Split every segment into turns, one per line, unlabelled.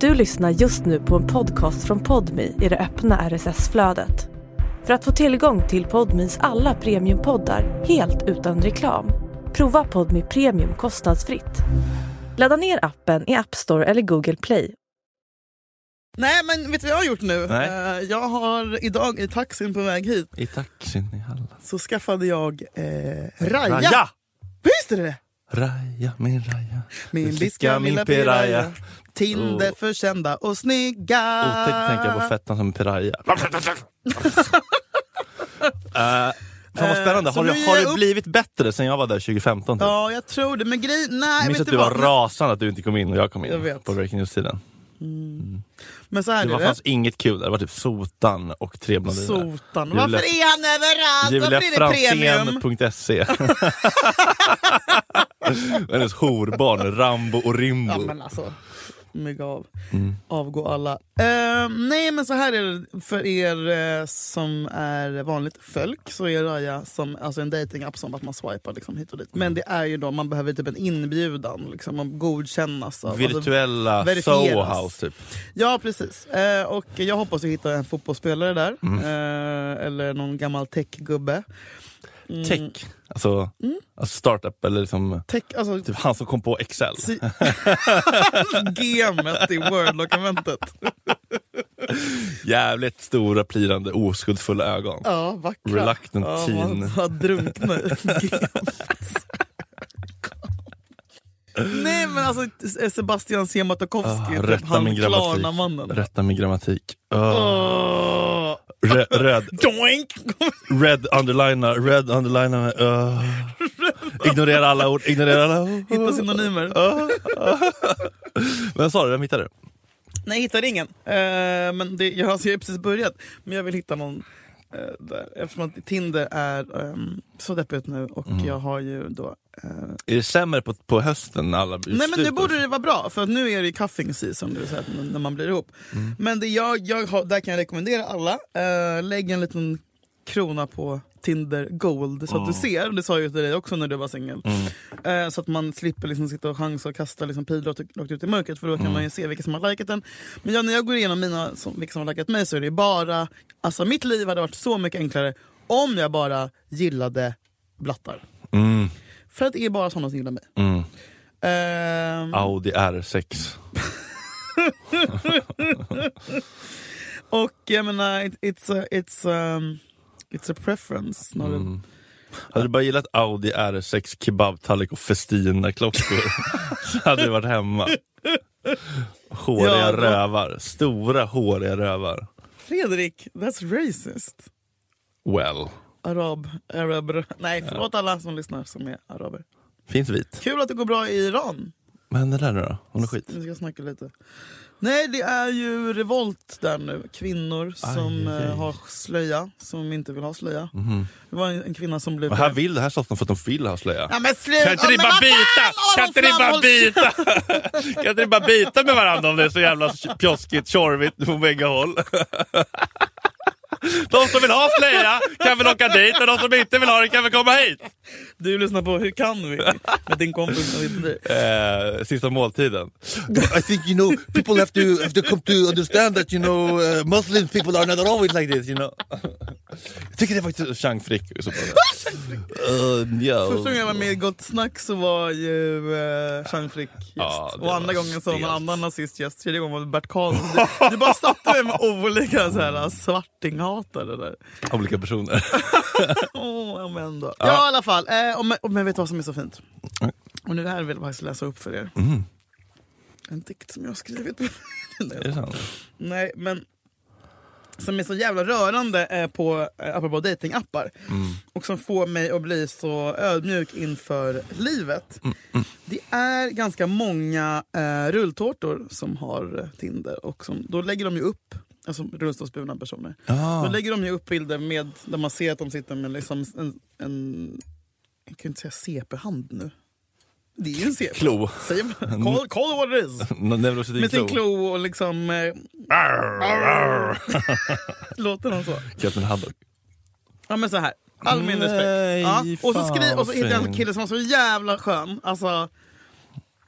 Du lyssnar just nu på en podcast från Podmi i det öppna RSS-flödet. För att få tillgång till Podmis alla premiumpoddar helt utan reklam, prova Podmi Premium kostnadsfritt. Ladda ner appen i App Store eller Google Play.
Nej, men vet du vad jag har gjort nu?
Nej.
Eh, Jag har idag i taxin på väg hit
I taxin i Halland.
så skaffade jag eh, Raja. Visst är det det?
Raja, min Raja.
Min
Flicka,
liska,
min
lilla
piraya.
piraya. Till
Oh.
det förkända och snygga.
Otäckt tänka
Ah.
på fettan som piraya. uh, fan vad spännande.
Eh, så
Har,
vi
det-
är
har det
upp-
blivit bättre sen jag var där 2015? Typ?
Ja, jag tror det. Men grej, nej,
jag minns
vet
att
du
du var
vad?
rasande att du inte kom in och jag kom in
Jag vet.
på Breaking News-tiden.
Men så här är
Det var,
det.
fanns inget kul där. Det var typ Sotan och Tre blondiner.
Sotan.
Julia-
Varför är han överallt?
Julia
Varför är Alltså, det premium?
Franzén.se E. Hennes horbarn Rambo och Rimbo.
Ja, men alltså. Mygg av.
Mm.
Avgå alla. Eh, nej, men så här är det för er eh, som är vanligt folk. Så är Raja som, alltså en datingapp som att man swipar liksom hit och dit.
Mm.
Men det är ju då, man behöver typ en inbjudan. Liksom, man godkännas. Av, alltså,
Virtuella
verifieras.
Sohohouse typ.
ja, precis. Eh, och jag hoppas att hitta en fotbollsspelare där.
Mm.
Eh, eller någon gammal techgubbe. Mm.
Tech, alltså, alltså startup eller liksom,
Tech, alltså
typ han som kom på Excel.
Si- Gemet i Word-dokumentet.
Jävligt stora plirande oskuldsfulla ögon.
Ja, vackra.
Reluctant
ja,
teen.
Han, han drunknar i gemet. Nej men alltså Sebastian Siemiatkowski,
Ah,
typ
rätta
han Ah.
min grammatik.
Klarna-mannen.
Rätta min grammatik. Uh,
Åh.
re, röd,
Doink!
red underlina, red underlina. med, Uh. Ignorera alla ord, ignorera alla ord.
Hitta synonymer.
Ah. Vem sa du? Vem hittade du?
Nej, jag hittade ingen. Eh, men det, jag, har- alltså, jag har precis börjat. Men jag vill hitta någon eh, där. Eftersom att Tinder är ehm, så deppigt ut nu och
Mm.
jag har ju då eh,
Är det sämre på, på hösten när alla blir
Nej men nu
slut?
borde det vara bra, för att nu är det ju cuffing season, det vill säga att n- när man blir ihop. Men det jag, jag har, där kan jag rekommendera alla, eh, lägg en liten krona på Tinder Gold så att du ser, det sa jag ju till dig också när du var singel. Eh, så att man slipper liksom sitta och chansa och kasta liksom pilar rakt- rakt ut i mörkret för då kan man ju se vilka som har likat den. Men jag, när jag går igenom mina, som, vilka som har likat mig så är det ju bara, alltså mitt liv hade varit så mycket enklare om jag bara gillade blattar.
Mm,
För att det är bara sådana som gillar mig.
mm.
Ehm,
Audi R6.
Och jag menar, it, it's, a, it's, um, it's a preference. snarare.
Mm. Hade du bara gillat Audi R6, kebabtallrik och Festina-klockor så hade du varit hemma. Håriga
Ja, då-
rövar. Stora håriga rövar.
Fredrik, that's racist.
Well.
Arab, araber. Nej, förlåt alla som lyssnar som är araber.
Finns vit.
Kul att det går bra i Iran.
Vad hände där nu då? Hon är skit.
Nu ska jag snacka lite. Nej, det är ju revolt där nu. Kvinnor som
aj, aj.
eh, har slöja, som inte vill ha slöja. Det var en, en kvinna som blev...
Men här vill det här Stockholm för att de vill ha slöja.
Ja, men sluta!
Kan inte ni
Men vad
bara
fan
byta?
har
Kan
de
inte ni bara
framhålls-
byta? Kan inte ni bara byta med varandra om det är så jävla pjoskigt, tjorvigt på bägge håll? De som vill ha slöja kan väl åka dit och de som inte vill ha det kan väl komma hit?
Du lyssnar på Hur kan vi? Med din kompis. och ditt liv.
Eh, sista måltiden.
I think you know people have to have to come to understand that you know uh, Muslim people are not always like this.
You know? Jag tycker det är faktiskt Chang Frick. som var där. Eh, ja.
Första gången jag var med i Gott Snack så var ju eh, Jean Frick gäst.
Ja, det
och andra
var
gången så var någon
stelt.
annan nazist gäst. Tredje gången var det Bert Karlsson. Du, du bara satte mig med olika så här, svartinghatare där.
Olika personer.
Åh, men då. Ja, i alla fall. Eh, och, men, och, men vet du vad som är så fint?
Mm.
Och nu det här vill jag faktiskt läsa upp för er. En dikt som jag har skrivit.
Är det sant?
Nej, men som är så jävla rörande eh, på, eh, apropå datingappar. Och som får mig att bli så ödmjuk inför livet. Det är ganska många eh, rulltårtor som har eh, Tinder. Och som, då lägger de ju upp, alltså rullstolsburna personer.
Ah.
Då lägger de ju upp bilder med, där man ser att de sitter med liksom en, en jag kan ju inte säga CP-hand nu. Det är ju en CP.
Klo.
Säger man- Call, call what it is. Med sin
Neurosedyn-klo.
klo och liksom... Eh, låter de så?
Captain Haddock.
Ja men så här. All min
Nej,
respekt. Ja. Och så,
fan,
skri- och så
vad
hittade jag en
fint.
kille som var så jävla skön. Alltså,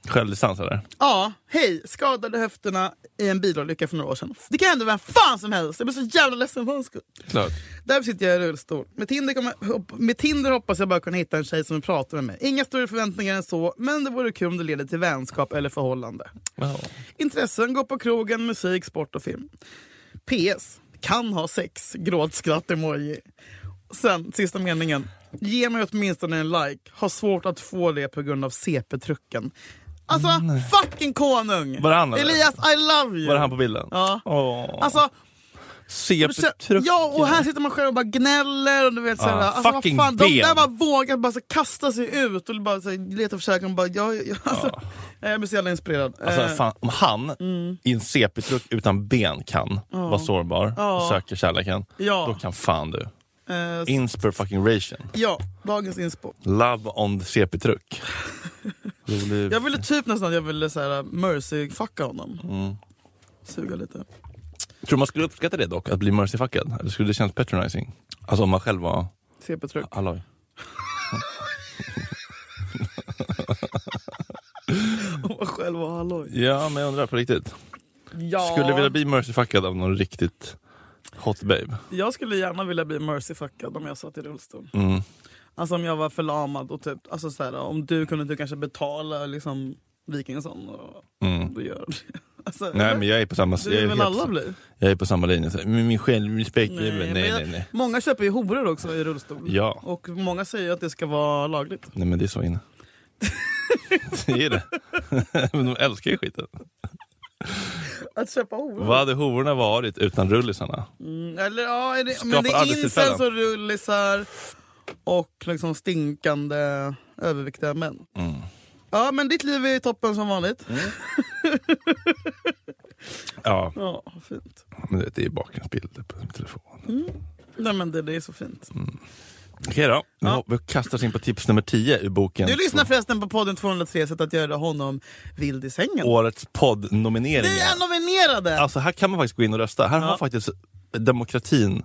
Självdistans eller?
Ja, hej. Skadade höfterna i en bilolycka för några år sedan. Det kan hända vem fan som helst. Jag blir så jävla ledsen för hans skull.
Klart.
Där sitter jag i rullstol. Med Tinder, kommer, hopp- med Tinder hoppas jag bara kunna hitta en tjej som vill prata med mig. Inga större förväntningar än så, men det vore kul om det leder till vänskap eller förhållande.
Wow.
Intressen går på krogen, musik, sport och film. PS. Kan ha sex. Gråt, skratt, emoji. Sen, sista meningen. Ge mig åtminstone en like. Har svårt att få det på grund av CP-trucken. Alltså, fucking konung!
Mm, Var det han, eller?
Elias, I love you!
Var det han på bilden?
Ja.
Åh.
Alltså,
Se
och
på
så-
trucken.
ja, och här sitter man själv och bara gnäller. Och du vet, så här,
Ah,
alltså,
fucking
vad fan, de
ben.
där bara vågar bara, så, kasta sig ut och bara, så, här, leta försäkring. Och bara, ja, ja, alltså, Jag blir så jävla inspirerad. Eh,
Ah.
Mm.
Alltså, fan, om han i en CP-truck utan ben kan vara sårbar och söker kärleken,
Eh, Ja.
då kan fan du.
eh,
Inspiration.
Ja, dagens inspo.
Love on the CP-truck. Rolig-
Jag ville typ nästan att jag ville så här, mercy-fucka honom. Suga lite.
Mm. Tror du man skulle uppskatta det dock, att bli mercyfuckad? Eller skulle det kännas patronizing? Alltså om man själv var
CP-tryck.
halloj.
Och själv och halloj.
Ja, men jag undrar på riktigt.
Ja.
Skulle du vilja bli mercyfuckad av någon riktigt hot babe?
Jag skulle gärna vilja bli mercy-fuckad om jag satt i rullstol.
Mm.
Alltså om jag var förlamad och typ, alltså så här, om du kunde du kanske betala liksom Wikingsson och
Mm.
då gör det. Alltså,
Nej
eller?
men jag är på samma
det
jag
vill
är
väl
helt-
alla bli?
Jag är på samma linje. Så, men min självrespekt, nej, nej,
men
nej,
jag-
nej, nej.
Många köper ju horor också i rullstol.
Ja.
Och många säger att det ska vara lagligt.
men det är så inne. det är det. men de älskar ju skiten.
Att köpa horor?
Vad hade hororna varit utan rullisarna?
Mm, eller ja, är det,
Skapar
men det är
arbetstillfällen.
incels och rullisar och liksom stinkande överviktiga män.
Mm.
Ja, men ditt liv är toppen som vanligt.
Ja,
Ja, fint.
men det- det är bakgrundsbilder på min telefon.
Nej men det, det är så fint.
Okej då, nu
Ja.
hopp- vi kastar oss in på tips nummer 10 ur boken.
Du lyssnar förresten på podden 203 sätt att göra honom vild i sängen.
Årets poddnomineringar.
Vi är nominerade!
Alltså här kan man faktiskt gå in och rösta. Här
Ja.
har faktiskt demokratin,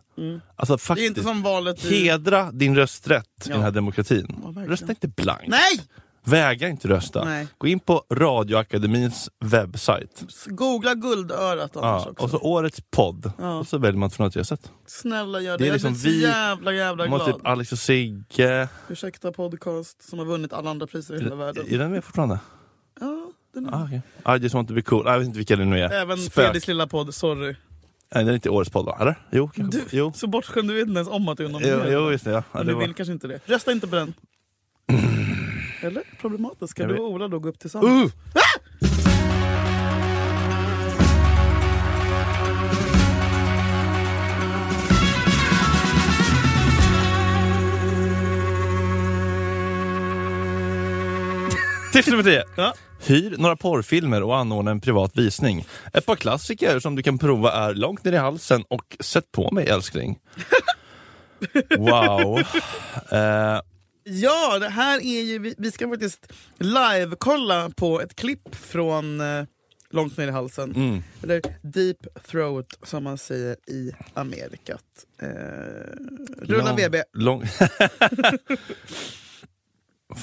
alltså
det är
faktiskt,
inte som valet i...
hedra din rösträtt i
Ja.
den här demokratin.
verkligen.
Rösta inte blankt.
Nej!
Vägra inte rösta.
Nej.
Gå in på Radioakademins webbsajt.
Googla guldörat annars
Ja,
också.
och så årets podd.
Ja.
Och så väljer man från något jag sett.
Snälla gör det.
Det är
Jag
liksom
blir så
vi-
jävla jävla
Man
glad.
har typ Alex och Sigge.
Ursäkta podcast som har vunnit alla andra priser i hela världen.
Är den med fortfarande?
Ja, den är...
Ah, okay. I just want to be cool. Ah, jag vet inte vilka det nu är.
Även
Spök.
Fredriks lilla podd, sorry.
Nej, den är inte årets podd va? Eller? Jo, kanske.
Du,
jo.
Så bortskämd, du vet inte ens om att du är
Jo,
nominerad.
jo, just det. Ja. Ja,
Men
det
du
var... Mm.
vill kanske inte det. Rösta inte på den. Eller? Problematiskt. Ska
Jag
du
vet-
och Ola då gå upp tillsammans?
uh! Tips nummer 10.
Ja.
Hyr några porrfilmer och anordna en privat visning. Ett par klassiker som du kan prova är Långt ner i halsen och Sätt på mig älskling. Wow. Eh,
Ja, det här är ju... Vi, vi ska faktiskt live-kolla på ett klipp från eh, Långt ner i halsen.
mm.
Eller Deep Throat som man säger i Amerikat. Eh, rulla
Lång-
VB.
Lång...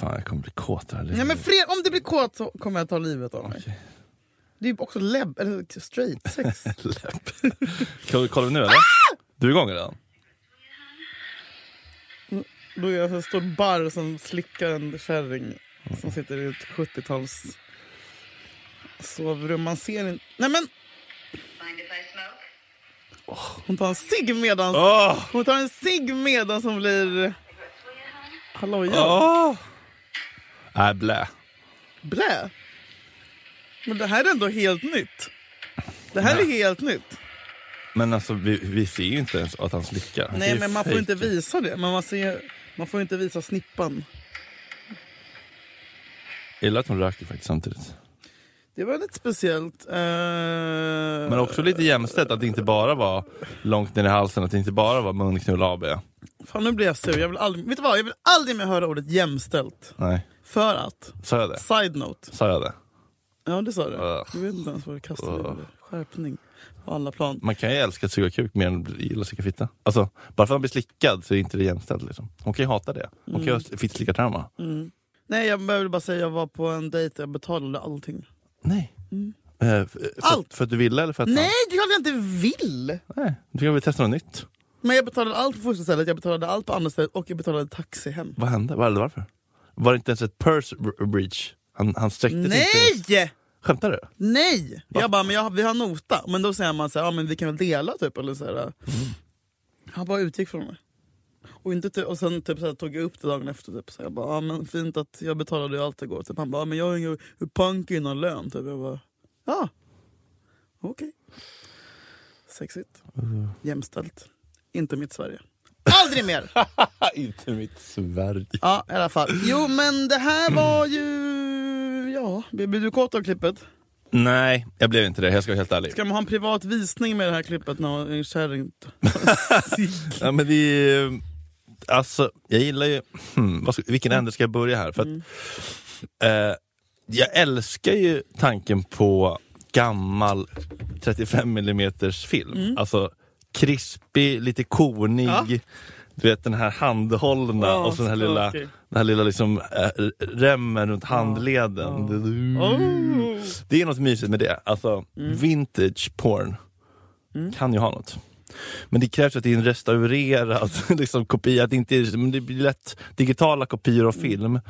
Fan, jag kommer bli kåt här.
Nej, men fred, om du blir kåt så kommer jag ta livet av mig.
Okej.
Det är ju också leb, eller straight sex.
Läpp. Kan du kolla nu eller?
Ah!
Du är igång redan?
Då är det alltså en stor barr som slickar en kärring som sitter i ett 70-tals sovrum. Man ser inte... Nej men!
Mind if I smoke?
Hon tar en cigg medans...
Åh!
Hon tar en cigg medans hon blir... Hallojad.
Åh! Nej, Ah! Äh, blä.
Blä! Men det här är ändå helt nytt. Det här är helt nytt.
Men alltså, vi, vi ser ju inte ens att han slickar. Det är
Nej
ju
men man får
fake.
inte visa det. Men man, ser, man får inte visa snippan.
Illa att hon röker faktiskt samtidigt.
Det var lite speciellt. Eh,
Men också lite jämställt att det inte bara var långt ner i halsen, att det inte bara var munknull AB.
Fan nu blir jag sur. Jag vill aldrig, vet du vad? Jag vill aldrig mer höra ordet jämställt.
Nej,
För att,
sa jag det?
side note.
Sa jag det?
Ja det sa du.
Ugh.
Du vet inte ens vad du kastade
Ugh.
uh. Skärpning på alla plan.
Man kan ju älska att suga kuk mer än att gilla att slicka fitta. Alltså,
Mm.
bara för att man blir slickad så är inte det jämställt. Liksom. Hon kan ju hata det. Hon kan ju ha fitt slickartrauma.
Nej jag behöver bara säga jag var på en dejt jag betalade allting.
Nej. Eh, för,
Mm. Allt.
För att du ville eller för att
Nej det är klart jag inte vill!
han... Nej. Då kan vi testa något nytt.
Men jag betalade allt på första stället, jag betalade allt på andra stället och jag betalade taxi hem.
Vad hände? Vad- eller Varför? Var det inte ens ett purse br- breach? Han, han sträckte sig inte.
Nej!
Skämtar du?
Nej! Jag bara, men jag, vi har nota. Men då säger man så här, ja men vi kan väl dela typ. Eller så här. Han bara utgick från mig. Och, inte, ty- och sen typ, så här, tog jag upp det dagen efter. Typ, så jag bara, ja men fint att jag betalade ju allt igår. Typ, han bara, ja, men jag är ju punk innan lön. Typ. Jag bara, ja. Okej. Sexigt. Jämställt. Inte mitt Sverige. Aldrig mer!
inte mitt Sverige.
Ja, i alla fall. Jo, men det här var ju... Ja, blev du kåt av klippet?
Nej, jag blev inte det. Jag ska vara helt ärlig.
Ska man ha en privat visning med det här klippet när en kärring...
Ja, men det är, ju- alltså, jag gillar ju... Hmm, vad ska, vilken ände ska jag börja här? För
Mm.
att, eh, jag älskar ju tanken på gammal 35 mm film. Alltså krispig, lite konig.
Ja.
Du vet den här handhållna
Ja,
och så den här lilla,
skakig.
den här lilla liksom, eh, remmen runt handleden.
Oh.
Det är något mysigt med det. Alltså, vintage porn kan ju ha något. Men det krävs att det är en restaurerad liksom, kopia. Att det, inte är, men det blir lätt, digitala kopior av film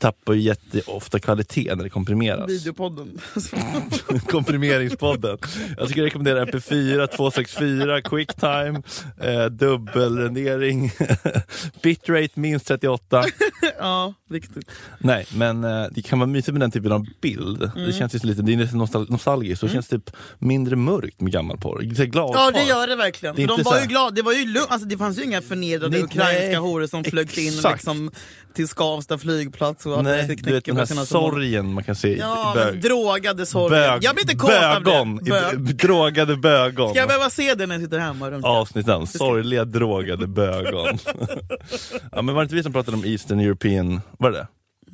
tappar ju jätteofta kvalitet när det komprimeras.
Videopodden.
Komprimeringspodden. Jag skulle rekommendera MP4, 264, Quicktime, eh, dubbelrendering, bitrate minst 38.
ja, viktigt.
Nej, men eh, det kan vara mysigt med den typen av bild.
Mm.
Det känns ju så lite, det är lite nostal- nostalgiskt, så det känns typ mindre mörkt med gammal porr. Lite glad
Ja, det
porr.
gör det verkligen.
Det är
de
inte så
var
här-
ju glada. Det, var ju lugnt. alltså, det fanns ju inga förnedrade
Nej, nej.
ukrainska horor som flög in
Exakt.
liksom, till Skavsta flygplats och hade
Nej,
ätit
du vet den
knäckebröd
här
senaste månaden.
sorgen man kan se i
Ja, men
bög.
drogade sorgen.
bög
Jag blir inte kåt av
bögon.
det.
I-
Bög.
Drogade bögon.
Ska jag behöva se det när jag sitter hemma? Runt?
Avsnitten, sorgliga drogade bögon. ja, men var det inte vi som pratade om Eastern European, var det det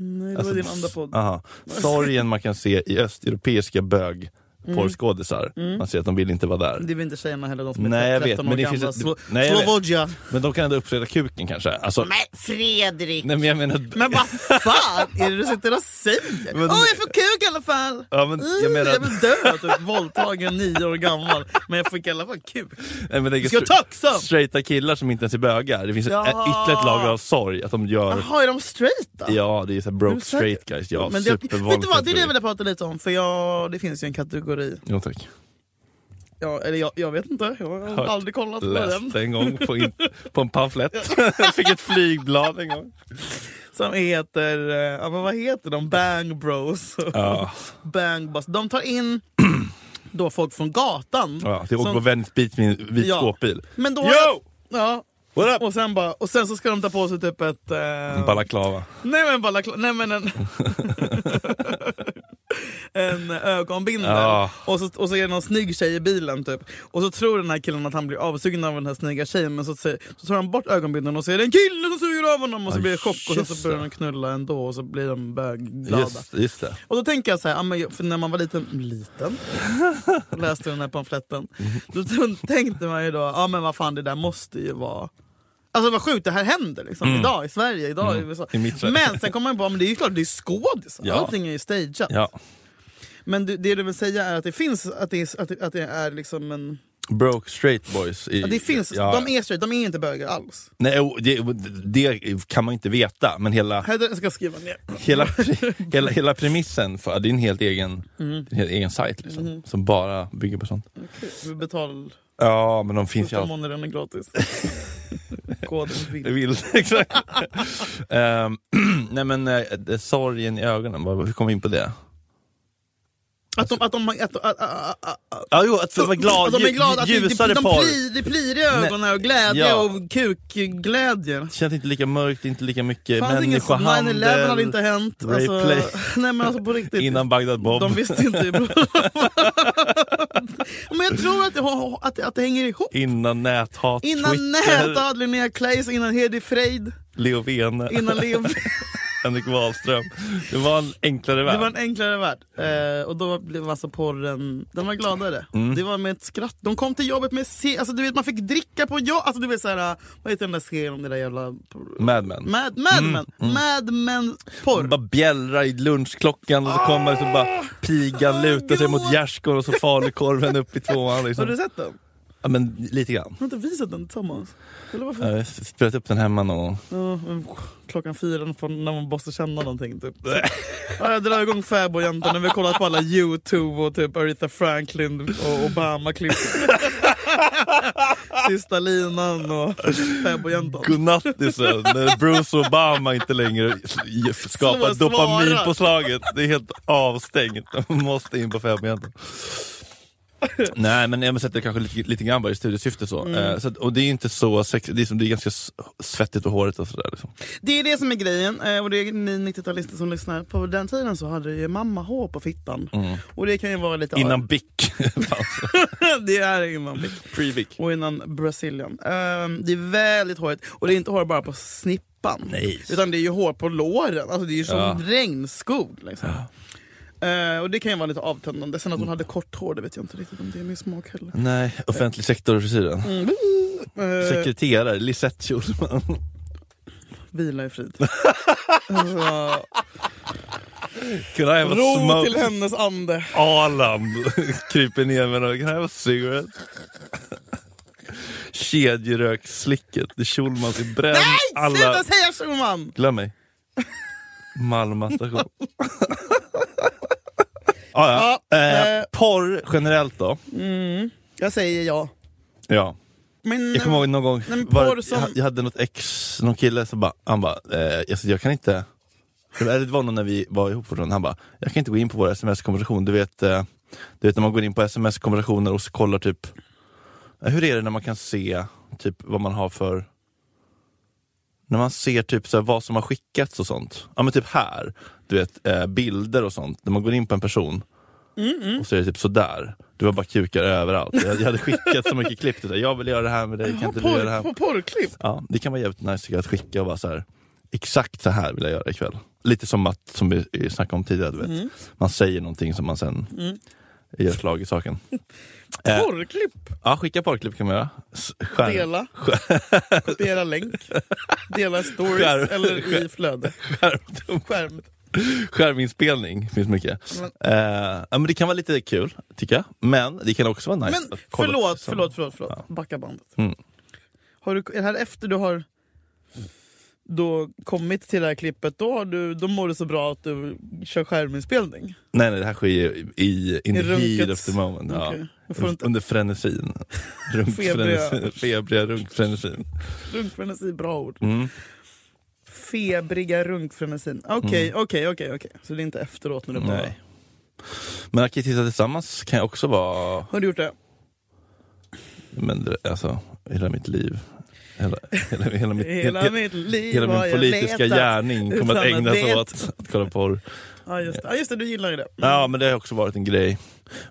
Nej, det
Alltså,
var din andra podd.
Aha. Sorgen man kan se i östeuropeiska bög
Mm.
porrskådisar. Man ser att de vill inte vara där.
Det är väl inte tjejerna heller, de som
Nej,
är
jag vet,
13
men
år
det finns
gamla.
ett-
Slo-
Nej, jag vet.
Slobodja.
Men de kan ändå uppfreda kuken kanske? Alltså,
Men Fredrik!
nej men jag menar...
Men vad fan är det du sitter och säger? Åh,
Men-
jag får kuk i alla fall!
Ja, men jag
Mm,
menar-
jag vill dö, typ, våldtagen nio år gammal. Men jag fick i alla fall kuk.
nej, men det är
Ska jag taxa?
straighta killar som inte ens är bögar. Det finns
Ja.
ja. ytterligare ett lager av sorg att de gör...
Jaha, är de straighta?
Ja, det är så här
Är
broke
du säker?
straight guys. Ja,
men det, vet du
supervanligt.
vad, det är det jag ville prata lite om, för jag, det finns ju en kategori.
Jo tack.
Ja, eller jag, jag vet inte, jag har
Hört,
aldrig kollat på den.
Läste en gång på, in, på en pamflett. Fick ett flygblad en gång.
Som heter, eh, ja, men vad heter de? Bang bros.
Ja,
Bang bus. De tar in då folk från gatan.
ja, det åkte
som-
på Venice Beach med en vit
Ja.
skåpbil.
Men då...
Yo!
Ja.
What up?
Och sen, bara, och sen så ska de ta på sig typ ett... Eh,
Balaklava.
nej men balakla, nej men en... en ögonbindel.
Ja.
Och, så, och så är det någon snygg tjej i bilen typ. Och så tror den här killen att han blir avsugen av den här snygga tjejen men så, säger- så tar han bort ögonbindeln och så är det en kille som suger av honom och så
Ja,
blir det chock och sen
just
så börjar
det.
de knulla ändå och så blir de bögglada.
Just, just det.
Och då tänker jag så här, ja, men jag- för när man var liten, liten, och läste den här pamfletten. Då t- tänkte man ju då, ja men vad fan det där måste ju vara Alltså vad sjukt det här händer liksom. idag i Sverige, idag i USA.
Mm. I mitt Sverige.
men sen kommer man på, men det är ju klart det är skådisar,
Ja.
allting är ju stageat.
Ja.
Men du, det du vill säga är att det finns, att det är, att det, att det är liksom en...
Broke straight boys. i-
Att det finns,
ja.
de är straight, de är inte bögar alls.
Nej, och det, det kan man ju inte veta, men hela,
Här jag ska jag skriva ner.
hela, hela, hela premissen, för, det är en helt egen,
Mm.
en helt egen sajt liksom, som bara bygger på sånt.
Vi betalar,
Ja, men de finns ju
första
alltid.
månaden är gratis. Koden vill.
Det vill, exakt. Ehm, nej men eh, det- sorgen i ögonen, vad- hur kom vi in på det?
Att
Alltså-
de, att de, att, att, att, att, att,
Ja, jo, att vara glad,
att Alltså, de är glada, att det-
ljusare
de, de,
par.
plir, det plir i ögonen och glädje
Ja.
och kukglädje.
Känns inte lika mörkt, inte lika mycket
Fanns ingen sån- 9-11 hade inte
människohandel.
hänt.
rape
Alltså,
play.
nej men alltså på riktigt.
Innan Bagdad Bob.
de visste inte hur Men jag tror att det, har- att, det- att det hänger ihop.
Innan näthat,
Innan
Twitter,
Näta, Linnea Claes, innan Hedi Freid,
Leo Vene.
innan Leo...
Henrik Wahlström. Det var en enklare värld.
Det var en enklare värld. Eh, och då blev alltså porren, den var gladare. Det var med ett skratt. De kom till jobbet med se, alltså du vet man fick dricka på jobbet. Alltså du vet såhär, vad heter den där serien om det där jävla...
Mad Men.
Mad, mad men, mad men porr.
Man bara bjällrar i lunchklockan och så kommer det så bara pigan lutar sig mot gärdsgården och så falukorven upp i tvåan.
Har du
Liksom.
sett den?
Ja, men lite grann.
Har inte vi sett den tillsammans? Eller varför?
Jag har spelat upp den hemma någon gång.
Ja, men klockan fyra på- när man måste känna någonting typ. Så- Ja, jag drar igång fäbodjäntan när vi har kollat på alla YouTube och typ Aretha Franklin och Obama-klipp. Sista linan och fäbodjäntan.
Godnattisen när Bruce Obama inte längre
Slå
skapar
och svara.
dopaminpåslaget. Det är helt avstängt. Man måste in på femhjärtan. Nej men jag har sett det kanske lite, lite grann bara i studiesyfte så. Eh, så att, och det är inte så sexigt, det, är som- det är ganska s- svettigt och håret och sådär. Liksom.
Det är det som är grejen. eh, Och det är ni 90-talister som lyssnar. På den tiden så hade ju mamma hår på fittan. Och det kan ju vara lite...
Innan Bic fanns.
det är innan blick.
Pre-Bic.
Och innan Brazilian. Ehm, det är väldigt hårigt. Och det är inte hår bara på snippan.
Nej.
Utan det är ju hår på låren. Alltså det är ju som
Ja.
regnskog. Liksom. Eh, och det kan ju vara lite avtändande. Sen att hon
Mm.
hade kort hår, det vet jag inte riktigt om det är min smak heller.
Nej, offentlig sektor-frisyren.
Mm, Eh,
Sekreterare, Lisette Schulman.
vila i frid. alltså,
Can I have a
ro till
smoke?
hennes ande.
Aland kryper ner med någon. Can I have a cigarette? Kedjeröksslicket. Det är Schulman i bränn.
Nej!
Alla-
Sluta säga Schulman!
Glöm mig. Malmö station. ah, ja.
Ja,
eh,
eh.
porr generellt då.
Jag säger ja.
Ja.
Men,
Jag kommer ihåg någon gång,
Nej, men
var,
porr som-
jag, jag hade något ex, någon kille, så bara, han bara, eh, alltså, jag kan inte, eller det var nog när vi var ihop fortfarande, han bara, jag kan inte gå in på vår sms-konversation, du vet, eh, du vet när man går in på sms-konversationer och så kollar typ, eh, hur är det när man kan se typ vad man har för när man ser typ så här, vad som har skickats och sånt. Ja men typ här, du vet eh, bilder och sånt. När man går in på en person och så är det typ sådär. Du har bara kukar överallt. Jag, jag hade skickat så mycket klipp. till dig. Jag vill göra det här med dig, kan inte du göra det
porr,
här?
på porrklipp.
Ja, det kan vara jävligt nice tycker jag, att skicka och bara så här. exakt så här vill jag göra ikväll. Lite som att, som vi eh, snackade om tidigare, du vet. Man säger någonting som man sen
Mm,
gör slag i saken. Eh,
Porrklipp.
ja, skicka porrklipp kan man göra. S- skär-
Dela. Kopiera länk. Dela stories
Skärm.
eller i flöde. Skärm.
Skärminspelning finns mycket.
Men-
Eh, ja, men det kan vara lite kul, tycker jag. Men det kan också vara nice
Men
att kolla liksom.
förlåt, förlåt,
tillsammans.
förlåt, förlåt.
Ja.
Backa bandet.
Mm.
Har du, är det här efter du har då kommit till det här klippet, då, har du, då mår du så bra att du kör skärminspelning?
Nej, nej, det här sker ju i, i in
I
the heat
runket.
of the moment.
Okej.
Ja.
Jag får inte
Under frenesin.
Febriga.
Runkfrenesin. Febriga runkfrenesin.
runkfrenesi, bra ord.
Mm.
Febriga runkfrenesin. Okej, okej, okej. okej. Så det är inte efteråt när du bara...
Mm. Nej. Men att titta tillsammans kan jag också vara,
Har du gjort det?
men det- alltså, hela mitt liv. Hela, hela, hela, mitt,
Hela
he-
mitt liv
hela
har
min
jag
politiska
letat.
gärning kommer att
utan
ägna
att
sig
veta.
åt att kolla porr.
Ja just, det. ja just det, du gillar ju det.
Ja, men det har också varit en grej.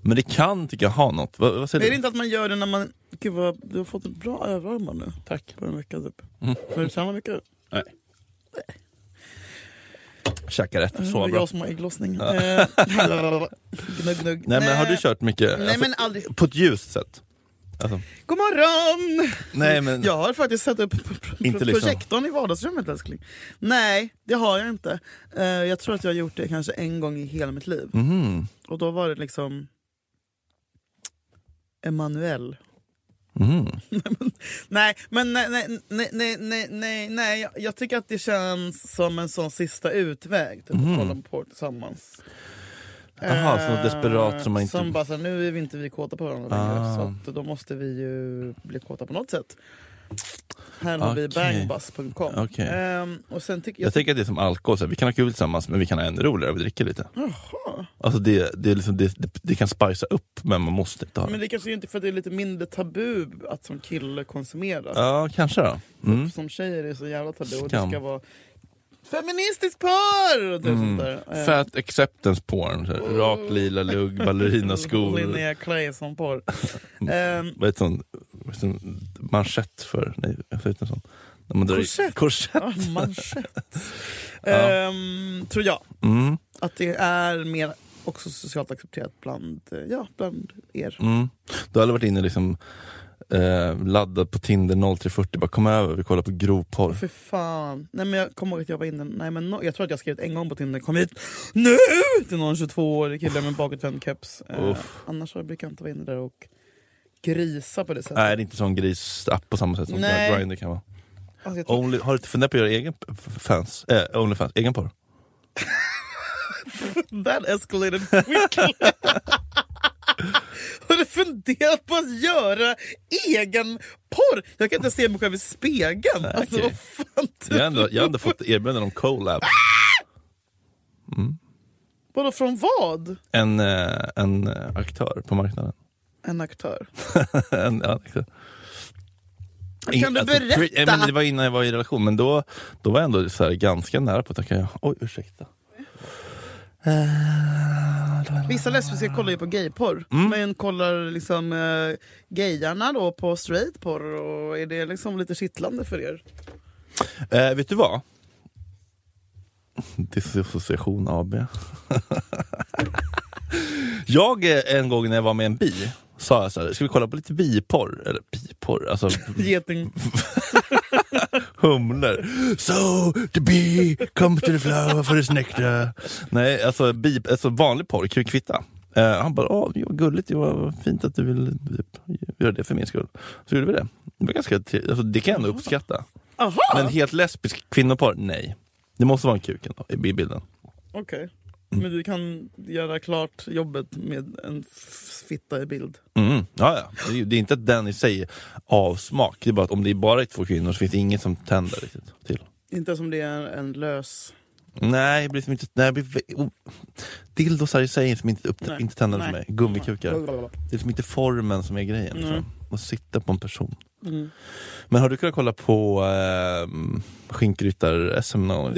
Men det kan, tycker jag, ha något. Vad, vad säger
Är
du?
det inte att man gör det när man... Gud vad, du har fått ett bra överarmar nu.
Tack. Mm.
På en vecka typ. Har du tränat mycket?
Nej. Käka rätt,
Det var
så bra.
Mm, Jag som har ägglossning. Eh, gnugg, gnugg.
Nej, men har du kört mycket? Alltså,
Nej, men aldrig.
På ett ljust sätt? Alltså,
God morgon!
nej, men...
Jag har faktiskt satt upp pro- pro-
Inte
pro-
liksom.
projektorn i vardagsrummet älskling. Nej, det har jag inte. Eh, jag tror att jag har gjort det kanske en gång i hela mitt liv.
Mhm.
Och då var det liksom... Emanuel.
Mhm.
Nej, men nej, nej, nej, nej, nej, nej, nej. Jag, jag tycker att det känns som en sån sista utväg. Typ, Att
Mhm.
kolla på tillsammans.
Jaha,
Eh,
så något desperat som man inte-
Som bara så här, nu är vi inte vi kåta på varandra
Ah.
längre, så att då måste vi ju bli kåta på något sätt. Här har vi
Okej.
bangbus.com.
Okej.
Ehm, och sen tycker jag...
Jag tänker att det är som alkohol, så här, vi kan ha kul tillsammans men vi kan ha ännu roligare, vi dricker lite.
Jaha.
Alltså det, det, är liksom, det, det, det kan spicea upp men man måste inte ha
Men
det.
det kanske är inte för att det är lite mindre tabu att som kille konsumera.
Ja, kanske då. Mm.
Som tjejer är det så jävla tabu och
Skam.
det ska vara feministisk porr! Och typ
Mm.
sånt där. Ehm,
Fat acceptance porn, så här, rak lila lugg, ballerinaskor.
Mm, Linnea Claesson-porr. Ehm,
Vad heter sån, vad heter sån manschett för? Nej, jag får ut en sån. Ja, men då är det-
Korsett.
Korsett.
Ja, ah, manschett.
Ja.
Ehm, tror jag.
Mm,
Att det är mer också socialt accepterat bland, eh, ja, bland er.
mm. Du har aldrig varit inne liksom, eh, laddad på Tinder 0340, bara kom över, vi kollar på grovporr.
För fan. Nej, men jag kommer ihåg att jag var inne, nej, men no, jag tror att jag skrivit en gång på Tinder, kom hit nu! Till någon 22-årig kille med bakåtvänd keps. Eh,
Uff.
annars så brukar jag inte vara inne där och grisa på det sättet.
Nej, det är inte sån grisapp på samma sätt som
Nej.
Grindr kan vara.
Alltså, jag tror,
Only, har du inte funderat på att göra egen p- f- fans? Eh, Onlyfans? Egen porr?
That escalated quickly. Har du funderat på att göra egen porr? Jag kan inte se mig själv i spegeln. Alltså,
okej.
vad fan
Jag har ändå, jag har ändå fått erbjudanden om collab. Mm.
Vadå från vad?
En, eh, en eh, aktör på marknaden.
En aktör.
en, ja, exakt.
Kan du
Alltså,
berätta?
pre- eh, men det var innan jag var i relation, men då, då var jag ändå så här ganska nära på att jag kan... Oj, ursäkta.
Vissa lesbiska kollar ju på gayporr.
Mm.
Men kollar liksom eh, gayarna då på straightporr? Och är det liksom lite kittlande för er?
Eh, vet du vad? Dissociation AB. jag eh, en gång när jag var med en bi, sa jag så här, ska vi kolla på lite biporr? Eller biporr, alltså
Geting.
humlor. So the bee come to the flower for its nectar. Nej, alltså, bi, alltså vanlig porr, kul kvitta. Eh, han bara, åh vad gulligt, det var vad fint att du ville typ, göra det för min skull. Så gjorde vi det. Det, var ganska, tre- alltså, det kan jag ändå uppskatta.
Aha!
Men helt lesbisk kvinnoporr, nej. Det måste vara en kuk ändå, i i bilden.
Okej.
Mm.
Men du kan göra klart jobbet med en f- fitta i bild?
Mm. Ja, ja. Det, är ju- det är inte att den i sig är avsmak, det är bara att om det är bara är två kvinnor så finns det inget som tänder riktigt till.
Inte som det är en lös...
Nej, det blir som inte... Nej, det blir, vä- o- dildosar i sig är som inte, upp,
Nej.
inte tändande för
Nej.
mig. Gummikukar.
Blablabla.
Det är som inte formen som är grejen. Liksom. Att sitta på en person.
Mm.
Men har du kunnat kolla på eh, skinkryttar-SM någon gång?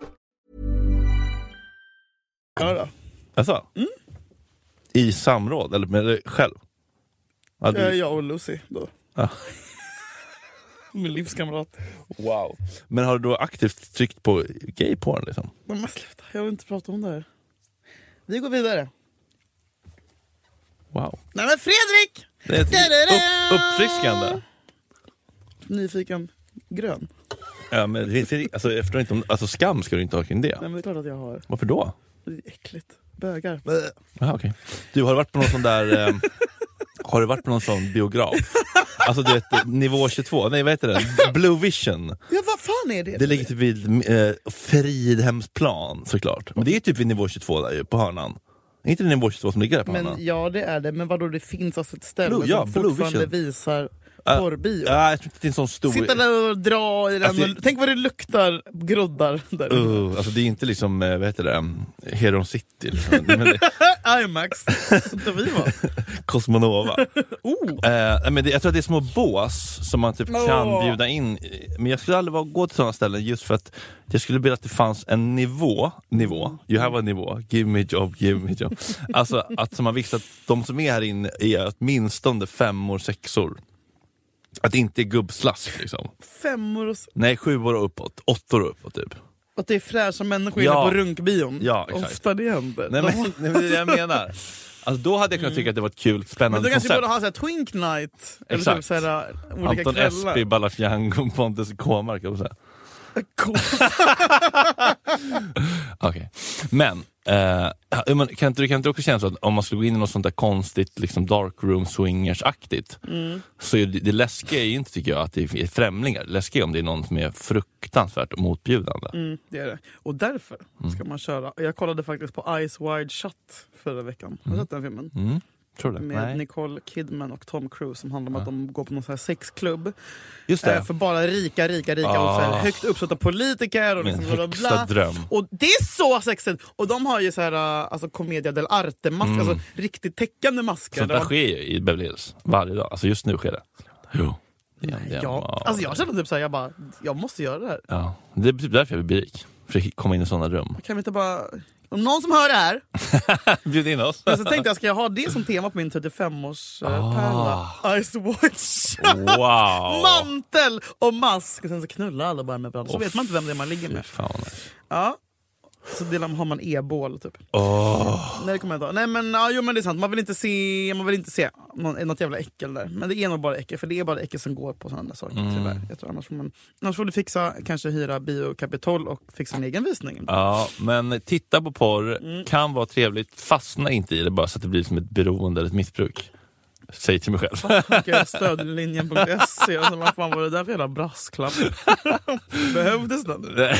Ja, då.
Alltså?
Mm.
I samråd, eller med dig själv? Ja,
Eh,
du,
Jag och Lucy då.
Ja.
Min livskamrat.
Wow. Men har du då aktivt tryckt på gay porn liksom?
Men men sluta, jag vill inte prata om det här. Vi går vidare.
Wow.
Nej men Fredrik!
Det är ett upp, uppfriskande.
Nyfiken grön.
Ja, men det finns, alltså, jag förstår inte om, alltså, skam ska du inte ha kring det.
Nej men det är klart att jag har.
Varför då?
Det är äckligt. Bögar.
Aha, okay. Du, har du varit på någon sån där eh, Har du varit på någon sån biograf? Alltså du vet, nivå 22, nej vad heter det? Blue Vision.
Ja vad fan är det?
Det ligger typ vid eh, Fridhemsplan såklart. Men det är typ vid nivå 22 där ju, på hörnan. Är inte det nivå 22 som ligger där på
men,
hörnan?
ja det är det, men vadå det finns alltså ett ställe
Blue- ja,
som
Blue
fortfarande
Vision.
visar
Äh,
porrbio.
Ja, jag tror inte det är en sån stor...
Sitta där och dra i den.
Alltså,
och, tänk vad det luktar groddar där.
Uh, alltså det är inte liksom, eh, vad heter det, um, Heron City, liksom. men det,
IMAX, där vi var.
Cosmonova.
Oh.
Eh, nej, men det, jag tror att det är små bås som man typ kan
Åh.
bjuda in i. Men jag skulle aldrig vara, gå till sådana ställen just för att jag skulle vilja att det fanns en nivå, nivå, you have a nivå, give me a job, give me a job. alltså att så man visste att de som är här inne är åtminstone femmor, sexor. Att det inte är gubbslask liksom.
Femmor och, s-
Nej, sjuor och uppåt, åttor och uppåt typ.
och att det är fräscha människor
Ja.
inne på runkbion.
Ja, exakt.
Ofta det händer.
Nej men, nej, men det är det jag menar. Alltså, då hade jag kunnat tycka att det var ett kul,
Mm. Men
spännande
då kanske vi
koncept.
borde ha så här twink night. Eller
Exakt.
typ så här, äh, olika
Anton
kvällar.
Esby, Balafiango, Pontus Kåmark. jag vill säga. Okej. Men, eh, ja, men kan, inte, kan inte det också känna så att om man skulle gå in i något sånt där konstigt liksom dark room swingers-aktigt,
Mm.
så är det, det läskiga är ju inte tycker jag att det är främlingar, det läskiga är om det är någon som är fruktansvärt motbjudande.
Mm, det är det. Och därför
Mm.
ska man köra. Jag kollade faktiskt på Eyes Wide Shut förra veckan. Har du sett den filmen?
Tror du det?
med
Mm. Nej.
Nicole Kidman och Tom Cruise som handlar om
Ja.
att de går på någon sån här sexklubb.
Just det.
Eh, för bara rika, rika, rika och så
Ah.
här högt uppsatta politiker. Och
Min
liksom bla, bla, bla.
högsta dröm.
Och det är så sexigt! Och de har ju så här, eh, alltså, Commedia dell'arte-masker, alltså riktigt täckande masker.
Mm. Sånt där
De-
sker ju i Beverly Hills varje dag. Alltså just nu sker det. Jo. Det är- det är-
ja. Alltså jag känner typ såhär, jag bara, jag måste göra det här.
ja. Det är typ därför jag vill bli rik. För att komma in i sådana rum.
Kan vi inte bara... Om någon som hör det här,
Bjud in oss.
men så tänkte jag, ska jag ha det som tema på min 35-årspärla? Ice watch!
Ah. Wow!
Mantel och mask! Och sen så knullar alla bara med varandra, så vet man inte vem det är man ligger
Fy
med.
fan.
Ja. Så delar, har man e-bål typ. Nej, det kommer jag inte ihåg. Nej, men, ja, jo, men det är sant, man vill inte se, man vill inte se någon, något jävla äckel där. Men det är nog bara äckel, för det är bara äckel som går på sådana där saker
Mm.
tyvärr. Jag tror, annars, får man, annars får du fixa, kanske hyra biokapitol och fixa en egen visning.
Ja, men titta på porr
Mm.
kan vara trevligt. Fastna inte i det bara så att det blir som ett beroende eller ett missbruk. Säg till mig själv.
Okej, Stödlinjen.se. Alltså, vad fan var det där för jävla brasklapp? Behövdes den?
Nej,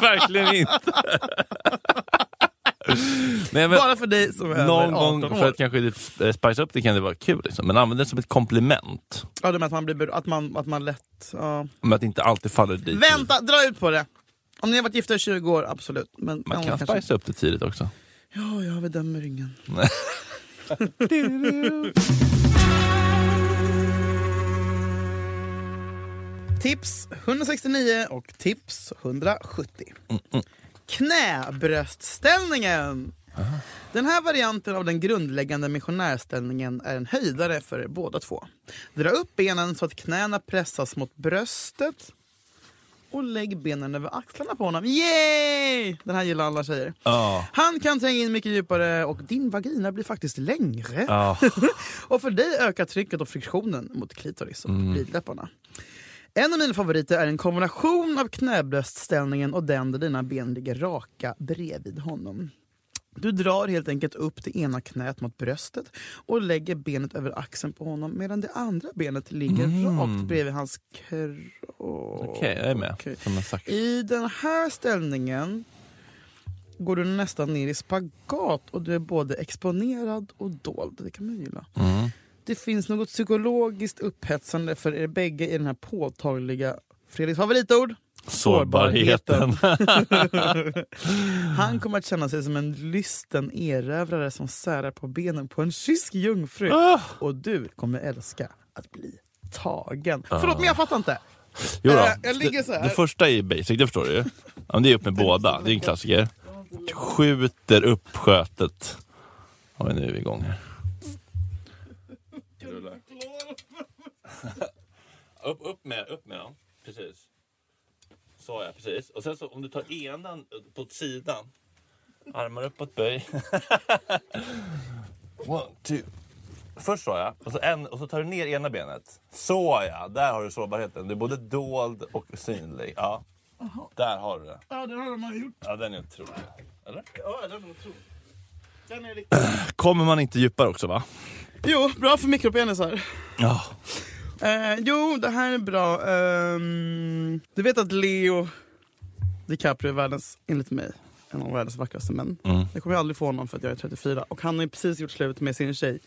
Verkligen inte. Nej, men
Bara för dig som är
någon
över 18
gång
år.
för att kanske eh, spicea upp det kan det vara kul. Liksom. Men använd det som ett komplement.
Ja, det med att man blir ber- att man, att man lätt... Ja.
Men att det inte alltid faller dit.
Vänta, dra ut på det! Om ni har varit gifta i 20 år, absolut. Men
Man
ja,
kan
kanske-
spicea upp det tidigt också.
Ja, jag bedömer ingen. tips 169 och tips 170. Knäbröstställningen! Den här varianten av den grundläggande missionärställningen är en höjdare för er båda två. Dra upp benen så att knäna pressas mot bröstet och lägg benen över axlarna på honom. Yay! Den här gillar alla tjejer.
Ja.
Han kan tränga in mycket djupare och din vagina blir faktiskt längre.
Ja.
Och för dig ökar trycket och friktionen mot klitoris och blidläpparna. En av mina favoriter är en kombination av knäbröstställningen och den där dina ben ligger raka bredvid honom. Du drar helt enkelt upp det ena knät mot bröstet och lägger benet över axeln på honom medan det andra benet ligger rakt bredvid hans kropp.
Okej, jag är med.
Okej.
Som en sax.
I den här ställningen går du nästan ner i spagat och du är både exponerad och dold. Det kan man ju gilla. Det finns något psykologiskt upphetsande för er bägge i den här påtagliga Fredriks favoritord.
Sårbarheten.
Han kommer att känna sig som en lysten erövrare som särar på benen på en kysk jungfru. Och du kommer älska att bli tagen. Förlåt, men jag fattar inte.
Jo då.
Äh, jag ligger så här.
Det, det första är ju basic, det förstår du ju. Ja, men det är upp med båda, det är en klassiker. Skjuter upp skötet. Oj, nu är vi igång här. upp, upp med, upp med den. Precis. Sa jag precis. Och sen så om du tar enan på sidan. Armar uppåt, böj. One, two. Först sa jag, och så, en, och så tar du ner ena benet. Så ja, där har du sårbarheten. Du är både dold och synlig. Ja. Där har du det.
Ja, det har de gjort.
Ja, den är otrolig. Eller?
Ja, det har de gjort. Den är riktigt...
Kommer man inte djupare också va?
Jo, bra för mikropenisar.
Ja.
Eh, jo, det här är bra. Ehm, du vet att Leo DiCaprio är världens, enligt mig, en av världens vackraste män. Jag kommer ju aldrig få honom för att jag är 34. Och han har ju precis gjort slut med sin tjej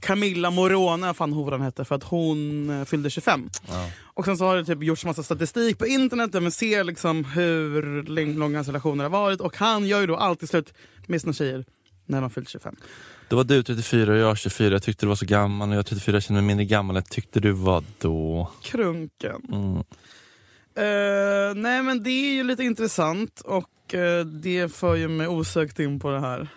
Camilla Morone, fan horan hette, för att hon eh, fyllde 25. Och sen så har det typ gjorts massa statistik på internet där man ser liksom hur läng- långa hans relationer har varit. Och han gör ju då alltid slut med sina tjejer när man fyllt 25.
Då var du 34 och jag 24. Jag tyckte du var så gammal och jag 34 kände mig mindre gammal än jag tyckte du var då.
Krunken.
Mm.
Eh, nej men det är ju lite intressant och eh, det för ju mig osökt in på det här.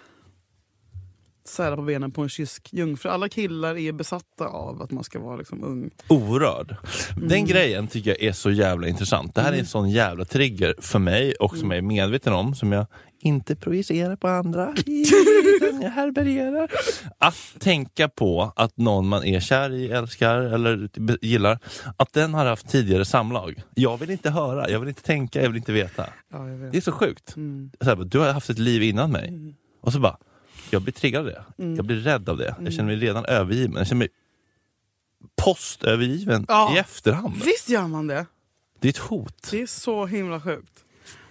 Sära på benen på en kysk jungfru. Alla killar är besatta av att man ska vara liksom ung.
Orörd.
Mm.
Den grejen tycker jag är så jävla intressant. Det här är en sån jävla trigger för mig och som jag är
Mm.
medveten om, som jag inte projicerar på andra. utan jag härbärgerar. Att tänka på att någon man är kär i, älskar eller be- gillar, att den har haft tidigare samlag. Jag vill inte höra, jag vill inte tänka, jag vill inte veta.
Ja, jag
Det
vet. Mm.
är så sjukt. Så här, bara, du har haft ett liv innan mig. Och så bara, jag blir triggad av det.
Mm.
Jag blir rädd av det. Jag känner mig redan övergiven. Jag känner mig postövergiven
Ja.
i efterhand.
Visst gör man det?
Det är ett hot.
Det är så himla sjukt.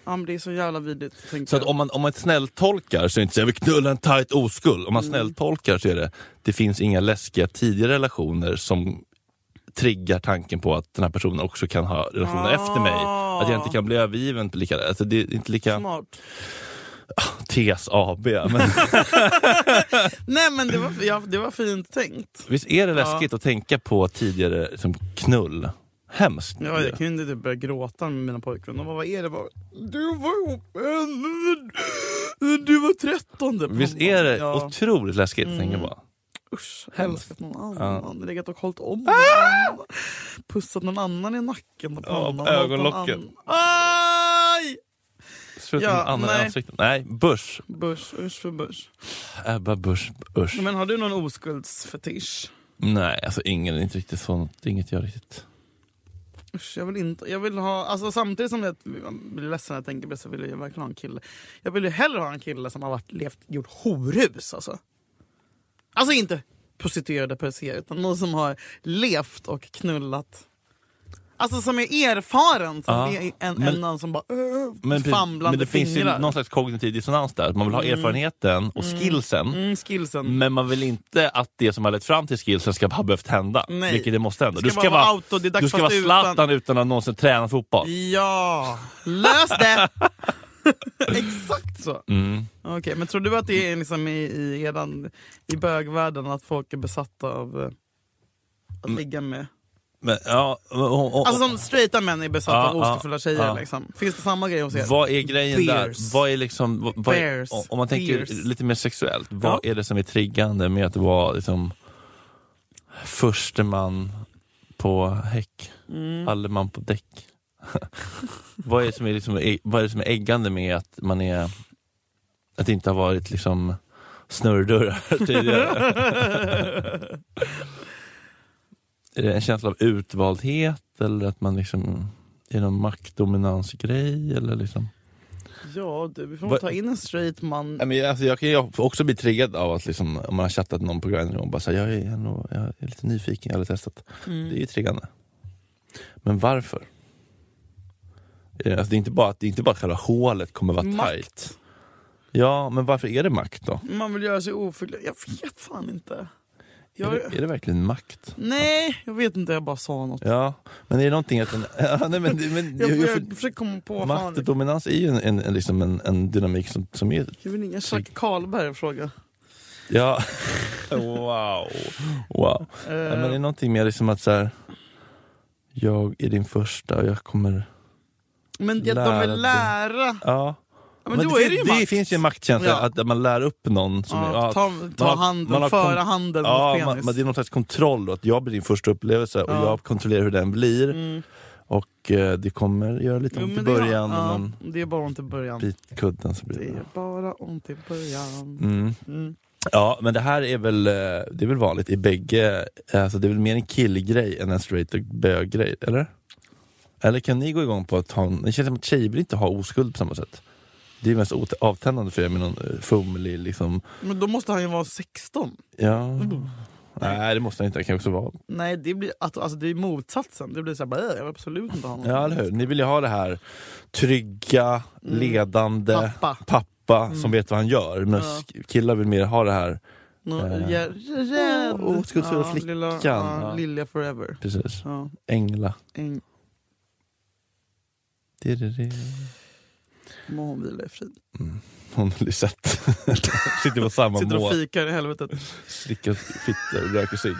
Ja, men det är så jävla vidrigt. att tänka.
Så att om man, om man snälltolkar så är det inte så jag vill knulla en tight oskuld. Om man
Mm.
snälltolkar så är det, det finns inga läskiga tidiga relationer som triggar tanken på att den här personen också kan ha relationer efter mig. Att jag inte kan bli övergiven på lika... Alltså det är inte lika...
Smart.
TSAB. Men
Nej men det var, ja, det var fint tänkt.
visst är det läskigt att tänka på tidigare liksom, knull? Hemskt.
Ja, jag kunde typ börja gråta med mina pojkvänner. De bara, vad är det? Jag Bara, du var ihop med henne när du var 13.
Visst är det
Ja, Mm.
otroligt läskigt att tänka på?
usch, älskat någon annan. Legat och hållit
Ah!
om någon annan. Pussat någon annan i nacken och pannan. hållit någon
ögonlocken.
annan. Aj!
Sluta
Ja,
med annan
nej.
nej. ansikten. Nej, Bush.
Börs, usch för börs.
Ebba Bush, Bush.
Men har du någon oskuldsfetisch?
Nej, alltså ingen, inte riktigt sånt. Inget jag riktigt...
Usch, jag vill inte, jag vill ha, alltså samtidigt som jag blir ledsen när jag tänker på det så vill jag verkligen ha en kille. Jag vill ju hellre ha en kille som har varit, levt, gjort horhus alltså. Alltså inte prostituerade per se, utan någon som har levt och knullat. Alltså som är erfaren, som
Ja,
är en,
men-
en någon som bara "Åh",
Men, precis,
Alltså famlande
men det finns ju
fingrar.
någon slags kognitiv dissonans där. Man vill ha erfarenheten och skillsen.
mm, skillsen.
Men man vill inte att det som har lett fram till skillsen ska ha behövt hända.
Nej.
Vilket det måste hända.
Det ska bara vara autodidakt,
du ska vara
fast utan-
Zlatan utan att någonsin träna fotboll.
Ja, lös det! Exakt så.
Mm.
Okej, men tror du att det är liksom i, i, eran, i bögvärlden att folk är besatta av eh, att
Mm.
ligga med...
Men, ja, och, och, och,
Alltså som straighta män är besatta
Ja,
av oskuldsfulla
ja,
tjejer.
ja.
Liksom. Finns det samma grej hos er?
vad är grejen
Bears.
där? Vad är liksom, vad- vad är,
Bears.
om man tänker
Bears.
lite mer sexuellt, vad är det som är triggande med att vara liksom, förste man på häck? Alle man på däck? vad, är det som är liksom, e- vad är det som är äggande med att man är att det inte har varit liksom snurrdörrar tidigare? är det en känsla av utvaldhet eller att man liksom är det någon maktdominansgrej? Eller liksom?
Ja du, vi får
Vad-
ta in en straight man.
Nej, men alltså, jag kan ju också bli triggad av att liksom, om man har chattat någon på Grindr och bara säger jag, är nog- jag är lite nyfiken, jag har aldrig testat.
Mm.
Det är ju triggande. Men varför? Eh, Alltså, det, är inte bara, det är inte bara att själva hålet kommer vara
Makt.
tajt. Ja, men varför är det makt då?
Man vill göra sig ofylld. Jag vet fan inte.
Är,
Jag,
det, är det verkligen makt?
nej, jag vet inte. Jag bara sa något.
Ja, men är det någonting att... En, ja, nej, men, men,
Jag,
jag,
jag,
jag,
försöker komma på...
makt och
Fan,
dominans är ju en, en, en, liksom en, en dynamik som, som är
jag vill ringa Chuck Karlberg och fråga.
Ja. wow. wow.
Eh,
Nej, men det är någonting mer liksom att så här, jag är din första och jag kommer...
Men jag, de
Lära
vill
dig.
lära.
Ja.
Men, då är det ju
det,
makt.
finns ju en maktkänsla,
Ja.
att att man lär upp någon. Som,
Ja,
är-
ta- ta
har-
handen,
har
föra
kon-
handen mot
ja,
penis.
Man, man, det är någon slags kontroll, då, att jag blir din första upplevelse och jag kontrollerar hur den blir. Och eh, det kommer göra lite
Mm. Jo,
ont i
men det är-
början,
ja,
men
det är bara ont i början.
bit kudden så blir
Det
det...
är bara ont i början.
Mm.
Mm.
Ja, men det här är väl, eh, det är väl vanligt i bägge, alltså det är väl mer en killgrej än en straight och böggrej, eller? Eller kan ni gå igång på att ha en, det känns som att tjejer vill inte ha oskuld på samma sätt. Det är mest ot- avtändande för er med någon eh, fumlig liksom,
Men då måste han ju vara 16.
ja... Nej det måste han inte, det kan också vara...
Nej, det blir, att- alltså, det är motsatsen. Det blir så här, bara, "Äh, jag vill absolut inte ha någon.
Ja eller hur, ni vill ju ha det här trygga, ledande
Pappa.
pappa som vet vad han gör. Men sk- killar vill mer ha det här,
Nå,
Eh.
jag är rädd.
Åh, oskuldsfulla flickan.
Lilla, ja,
Ja.
lilja forever.
precis,
Ja,
ängla.
en
Det, det, det.
må hon vila i frid.
Hon har Lisette. Sitter på samma
Sitter och
mål.
fikar i helvetet.
slickar fitta och röker cigg.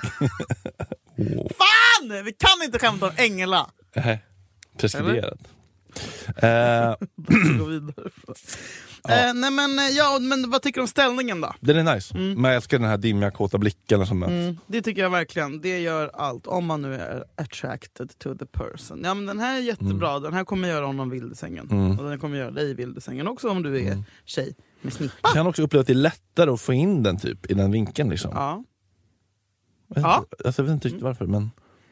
Fan! Vi kan inte skämta om Engla!
Nej, Preskriberat. Eh,
Vi går vidare. Eh, nej men, eh, ja, men vad tycker du om ställningen då?
den är nice. Men jag älskar den här dimmiga kåta blicken som möts.
Det tycker jag verkligen. Det gör allt. Om man nu är attracted to the person. Ja, men den här är
Mm.
jättebra. Den här kommer göra honom vild i sängen. Och den kommer göra dig vild i sängen också om du är
Mm.
tjej med snippa.
Kan också uppleva att det är lättare att få in den typ i den vinkeln. Liksom.
Ja,
Jag, vet
Ja.
inte, alltså, jag vet inte riktigt varför men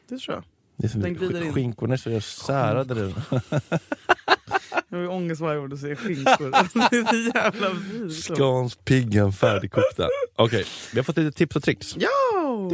det tror jag.
det är som
Den glider in.
skinkorna är så särade. där.
Jag har ju ångest varje gång du säger skinkor. det är så jävla vidrigt.
Skans piggan färdigkokta. Okej, vi har fått lite tips och tricks.
Ja!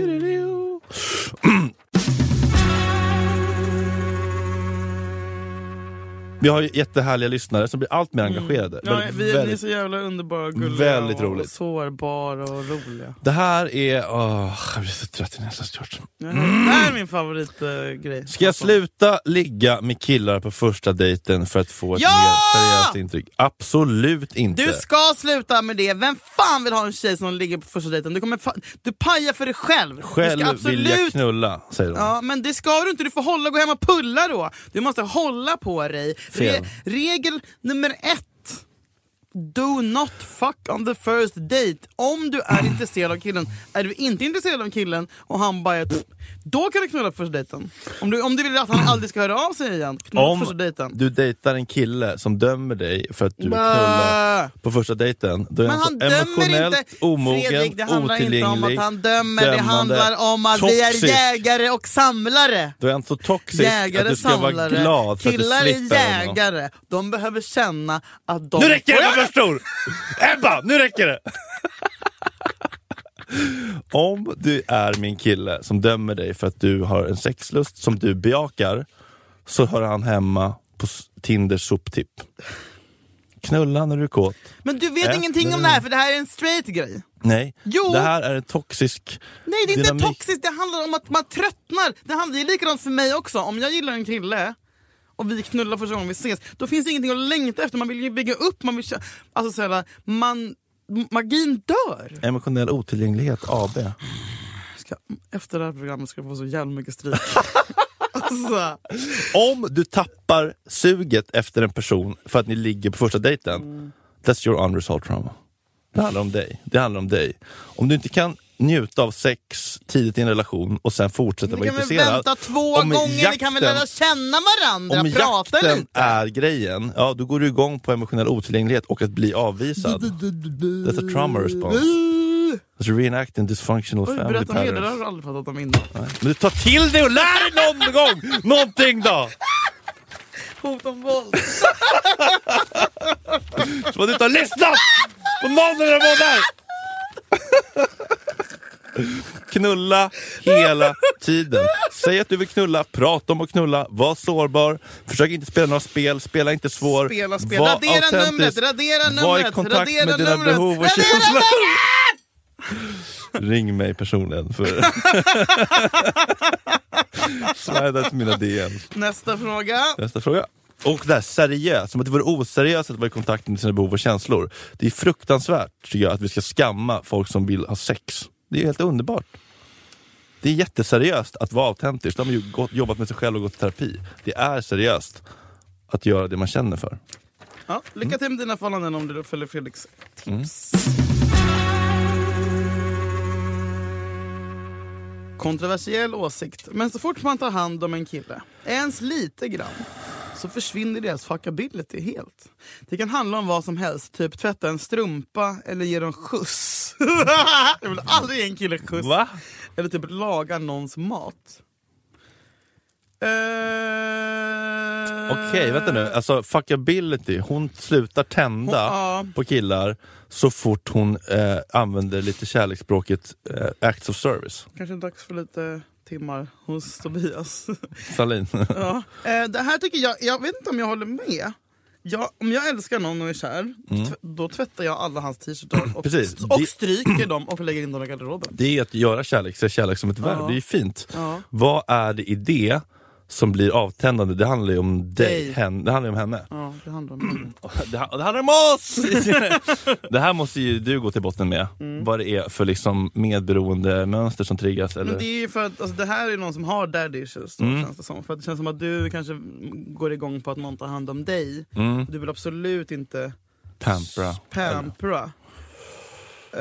Vi har ju jättehärliga lyssnare som blir allt mer engagerade.
Mm. Ja,
Väldigt-
vi, ni är
väldigt-
så jävla underbara och gulliga
väldigt
och
roligt.
sårbara och roliga.
Det här är... åh, jag blir så trött i näsan George.
Ja, Det här är min favoritgrej.
Mm. Ska jag sluta ligga med killar på första dejten för att få ett
Ja!
mer seriöst intryck? Absolut inte!
Du ska sluta med det! Vem fan vill ha en tjej som ligger på första dejten? Du, kommer fa- du pajar för dig själv! du
Själv
ska
vill jag
absolut...
knulla, säger de.
Ja, men det ska du inte. Du får hålla, gå hem och pulla då. Du måste hålla på dig.
Fel.
regel nummer ett. Do not fuck on the first date. Om du är intresserad av killen. Är du inte intresserad av killen och han bara är ett- då kan du knulla på första dejten. Om du, om du vill att han aldrig ska höra av sig igen, knulla på Mm, första
Om
dejten.
du dejtar en kille som dömer dig för att du
Bä.
knullar på första dejten, då är
Men
han,
han
så
dömer
alltså, emotionellt
inte.
omogen,
Fredrik, det handlar inte om att
otillgänglig,
han dömer. det
dömande,
handlar om att vi är
toxisk.
jägare och samlare.
Då är han så toxisk
Jägare,
att du ska vara
samlare,
glad för
killar
att du
är
slipper honom.
jägare. De behöver känna att de...
Nu räcker det
Oj,
med förstor! Ebba, nu räcker det! Om du är min kille som dömer dig för att du har en sexlust som du bejakar, så hör han hemma på s- Tinders soptipp. Knulla när du är kåt.
Men du vet
Äh,
ingenting om det här för det här är en straight grej.
Nej,
Jo.
det här är en toxisk
Nej det är inte
dynamik.
toxiskt, det handlar om att man tröttnar. Det, handlar, det är likadant för mig också. Om jag gillar en kille och vi knullar första gången vi ses, då finns det ingenting att längta efter. Man vill ju bygga upp, man vill kä- Alltså så här, man... Magin dör!
Emotionell otillgänglighet AB.
Ska, efter det här programmet ska jag få så jävla mycket stryk. alltså,
Om du tappar suget efter en person för att ni ligger på första dejten, that's your unresolved trauma. Det handlar om dig. Det handlar om dig. Om du inte kan njuta av sex tidigt i en relation och sen fortsätta
ni
vara
kan väl
intresserad.
vänta två
om
gånger, ni kan väl
jakten-
lära känna varandra,
om
prata
jakten
lite.
är grejen, ja då går du igång på emotionell otillgänglighet och att bli avvisad. That's a trauma response. That's reenacting dysfunctional
Oj,
family
berätta mer, det där har
patterns.
du aldrig pratat om innan.
Men du tar till dig och lär dig någon gång! Någonting då!
Hot om våld.
Som att du inte har lyssnat på någon av de där! Knulla hela tiden. Säg att du vill knulla, prata om att knulla, var sårbar, försök inte spela några spel, spela inte svår.
Spela, spela.
var
radera
autentisk,
numret, radera numret,
Var i kontakt
radera
med dina
numret,
behov och
radera
känslor. Ring mig personligen. För... Slida till mina DM.
Nästa fråga.
Nästa fråga. Och det här seriöst, som att det vore oseriöst att vara i kontakt med sina behov och känslor. Det är fruktansvärt tycker jag att vi ska skamma folk som vill ha sex. Det är ju helt underbart. Det är jätteseriöst att vara autentisk. De har ju gått, jobbat med sig själv och gått i terapi. Det är seriöst att göra det man känner för.
Ja, lycka
Mm.
till med dina förhållanden om du följer Fredriks tips. Kontroversiell åsikt, men så fort man tar hand om en kille, ens lite grann, så försvinner deras fuckability helt. Det kan handla om vad som helst, typ tvätta en strumpa eller ge dem skjuts. Jag vill aldrig ge en kille skjuts.
Va?
Eller typ laga någons mat. Eh,
Okej, vänta nu. Alltså fuckability, hon slutar tända
Hon- ja.
på killar så fort hon eh, använder lite kärleksspråket eh, acts of service.
Kanske dags för lite timmar hos Tobias.
Salin.
ja. eh, det här tycker jag, jag vet inte om jag håller med. Jag, om jag älskar någon och är kär, tv- då tvättar jag alla hans t-shirtar och,
Mm. Precis.
och
Det-
stryker dem och lägger in dem i garderoben.
Det är att göra kärlek, se kärlek som ett verb.
Ja.
Det är ju fint.
Ja.
Vad är det i det som blir avtändande? Det handlar ju om dig.
Dig.
Hen, det handlar ju om henne.
Ja, det handlar om henne.
Det, ha- det handlar om oss! det här måste ju du gå till botten med.
Mm.
Vad det är för liksom medberoende mönster som triggas. Eller?
Men det är ju för att alltså, det här är någon som har daddy issues då,
Mm.
känns det som. För att det känns som att du kanske går igång på att någon tar hand om dig.
Mm.
Du vill absolut inte
Pampra.
pampra. Eh,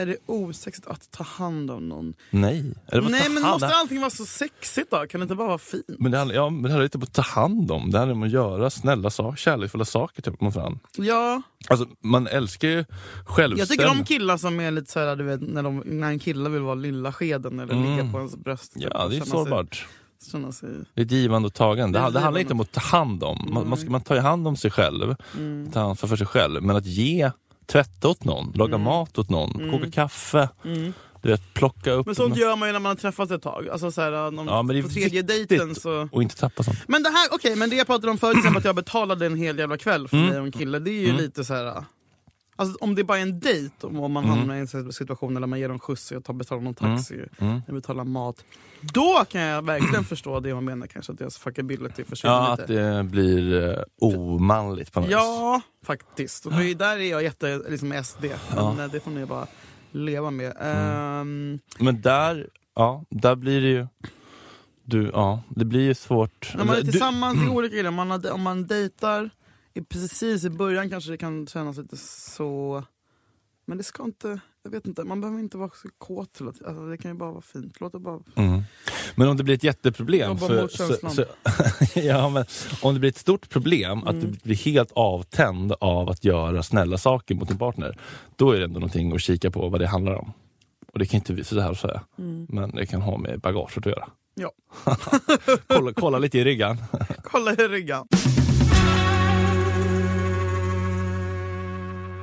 är det osexigt att ta hand om någon?
Nej. Eller vad
Nej
ta
men
hand-
måste allting vara så sexigt då? Kan det inte bara vara fint?
men det handlar, ja, men det handlar inte om att ta hand om. Det handlar om att göra snälla saker, kärleksfulla saker typ, mot varandra.
Ja,
Alltså, man älskar ju självständighet.
jag tycker om killar som är lite såhär, du vet när, de, när en kille vill vara lilla skeden eller ligga på ens bröst. typ,
Mm. Ja,
och
det är
känna
sårbart.
Sig, känna sig.
Det är ett givande och tagande.
Det
Det,
är
det handlar inte om
givande. Mm.
att ta hand om. Man, man, ska, man tar ju hand om sig själv, tar ansvar
Mm.
för sig själv. Men att ge, tvätta åt någon, laga mat åt någon, koka kaffe, Du vet, plocka upp...
Men sånt gör man ju när man har träffats ett tag. Alltså så här, om,
Mm. Ja, men det är
på tredje
viktigt.
dejten så...
Och inte tappa sånt.
Men det här, okej, men det jag pratade om förut, till exempel att jag betalade en hel jävla kväll
Mm.
för mig och en kille, det är ju lite så här. Alltså om det bara är en dejt, om, om man
Mm.
hamnar i en sån här situation eller man ger dem skjuts och jag tar, betalar någon taxi,
Mm.
jag betalar mat. Då kan jag verkligen förstå det man menar kanske, att deras fuckability försvinner
Ja,
lite.
att det blir eh, omanligt på något vis.
Ja, faktiskt. Och det är där är jag jätte, liksom SD, men eh, det får ni bara leva med.
Mm.
Ehm,
Men där, ja, där blir det ju... Du, ja, det blir ju svårt.
När man är
Alltså, Du-
tillsammans i olika killar, om man, har- om man dejtar i, precis i början kanske det kan kännas lite så... Men det ska inte... Jag vet inte, man behöver inte vara så kåt. hela tiden. Alltså, det kan ju bara vara fint. Låt det bara...
Mm. Men om det blir ett jätteproblem...
Jobba
Så,
mot
så,
känslan.
så, ja, men om det blir ett stort problem,
Mm.
att du blir helt avtänd av att göra snälla saker mot din partner, då är det ändå någonting att kika på vad det handlar om. Och det kan inte vi så här säga,
Mm.
men det kan ha med bagaget att göra.
Ja.
kolla, kolla lite i ryggen.
Kolla i ryggen.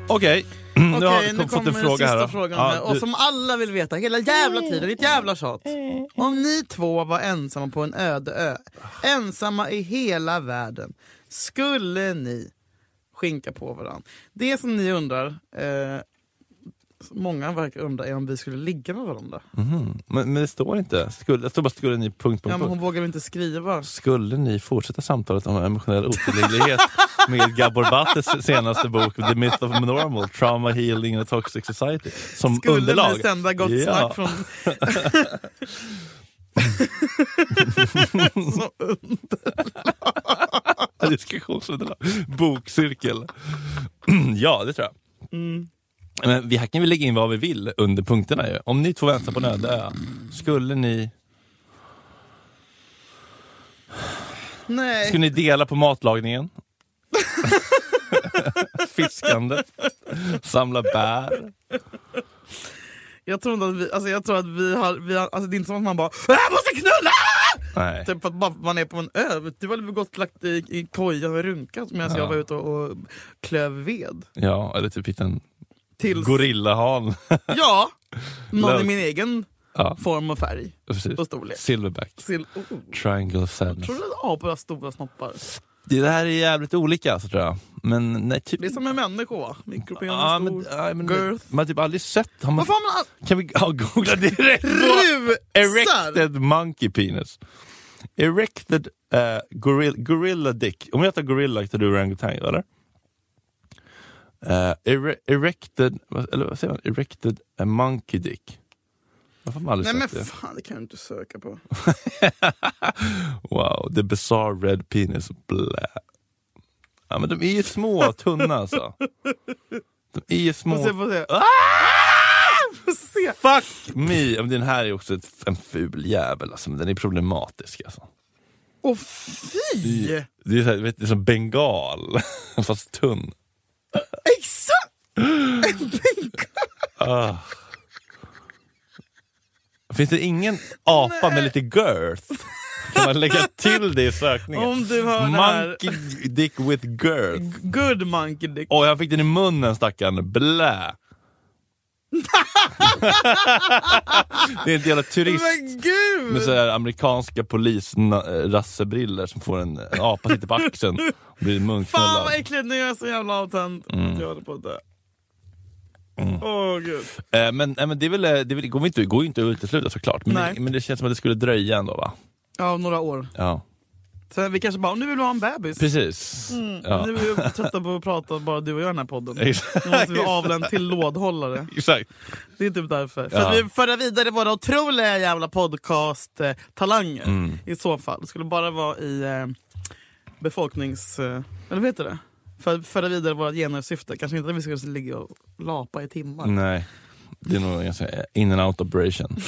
Okej, Mm, nu har vi
Okej, nu
fått
kommer
en fråga
sista
här. då.
frågan.
Ja,
här. Och
du-
som alla vill veta hela jävla tiden, ditt jävla tjat. Om ni två var ensamma på en öde ö, ensamma i hela världen, skulle ni skinka på varandra? Det som ni undrar, eh, många verkar undra, är om vi skulle ligga med varandra.
Mhm. men, men det står inte. Skulle, det står bara skulle ni... Punkt, punkt,
Ja, men
punkt.
hon vågar väl inte skriva.
Skulle ni fortsätta samtalet om emotionell otillgänglighet med Gabor Battes senaste bok The Myth of Normal, Trauma, Healing and a Toxic Society som
Skulle
underlag?
ni sända gott
Ja.
snack från... Så und-
Diskussionsunderlag. Bokcirkel. ja, det tror jag.
Mm.
Men vi här kan vi lägga in vad vi vill under punkterna. Ju. Om ni två var ensamma på en öde ö, skulle ni,
Nej.
skulle ni dela på matlagningen? Fiskandet? Samla bär?
Jag tror inte att vi, alltså jag tror att vi har, vi har alltså det är inte som att man bara Jag måste knulla!
Nej.
Typ för att bara, man är på en ö. Vet Du var väl gott lagt i, i koja med runkat medan jag var ute och, och klöv ved.
Ja, eller typ hitta en
Tills,
gorillahan.
Ja, någon
Lök.
i min egen
Ja.
form och färg.
Precis.
Och storlek.
Silverback.
Till, oh.
Triangle of sadness.
Tror du att apor har stora snoppar?
Det här är jävligt olika alltså, tror jag. Men nej, typ...
Det är som en människa va? Mikropenis
Ja,
ah,
men,
stor.
ja, men,
girth.
man har typ aldrig sett... Har man,
Varför har man all-
kan vi ja, googla direkt?
rusar?
Erected monkey penis. Erected eh, gorilla, gorilla dick. Om jag tar gorilla tar du orangutang, eller? Eh, ere, erected... vad- Eller vad säger man? Erected eh, monkey dick. Varför har man aldrig
Nej men
sett det?
fan det kan du inte söka på.
Wow, the bizarre red penis. Blä. Ja, men de är ju små och tunna alltså. De är ju små.
Få se, få se. Få se.
Ah! Fuck me! Ja, men den här är också ett, en ful jävel alltså. men Den är problematisk alltså.
Åh fy!
Det är, så här, vet, det är som bengal, fast tunn.
Exakt! En pink
Finns det ingen apa med lite girth? Kan man lägga till det i sökningen?
Om du hör det här.
Monkey dick with girth.
Good monkey dick.
Åh, jag fick den i munnen stackarn. Blä! det är en jävla turist
Men
med
gud!
så här amerikanska polisrassebriller som får en, en apa sitter på axeln och blir
Fan
munknullad.
vad äckligt, nu är jag så jävla avtänd.
Mm.
Jag håller på att dö. Åh gud.
Eh, men, nej, men det, är väl, eh, det är väl, går, ju inte, går ju inte att utesluta såklart, men
Nej.
det, men det känns som att det skulle dröja ändå va?
Ja, om några år.
Ja,
Sen vi kanske bara, nu vill du ha en bebis.
precis. Ja.
Mm, Nu är vi trötta på att prata bara du och jag i den här podden. Nu
Exakt.
måste vi avla en till lådhållare.
Exakt.
Det är typ därför. För
Ja.
att vi för vidare våra otroliga jävla podcast-talanger.
Mm.
I så fall. Det skulle bara vara i eh, befolknings... Eh, eller vad heter det? För, föra vidare våra genersyfte. Kanske inte att vi skulle ligga och lapa i timmar.
Nej, det är nog ganska eh, in and out operation.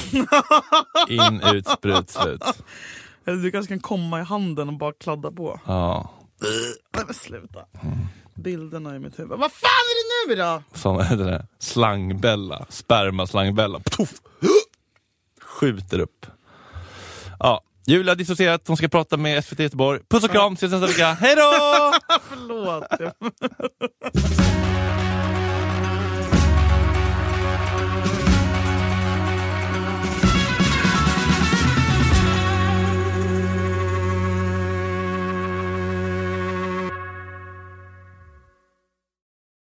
in, ut, sprut, slut.
Eller du kanske kan komma i handen och bara kladda på.
Ja,
Nej men sluta. Bilderna i mitt huvud. Vad fan är det nu då?
som vad heter det? slangbella, spermaslangbella. Puff! Skjuter upp. Ja, Julia har dissocierat, hon ska prata med SVT Göteborg. Puss och kram, ses nästa vecka. Hej då!
Förlåt.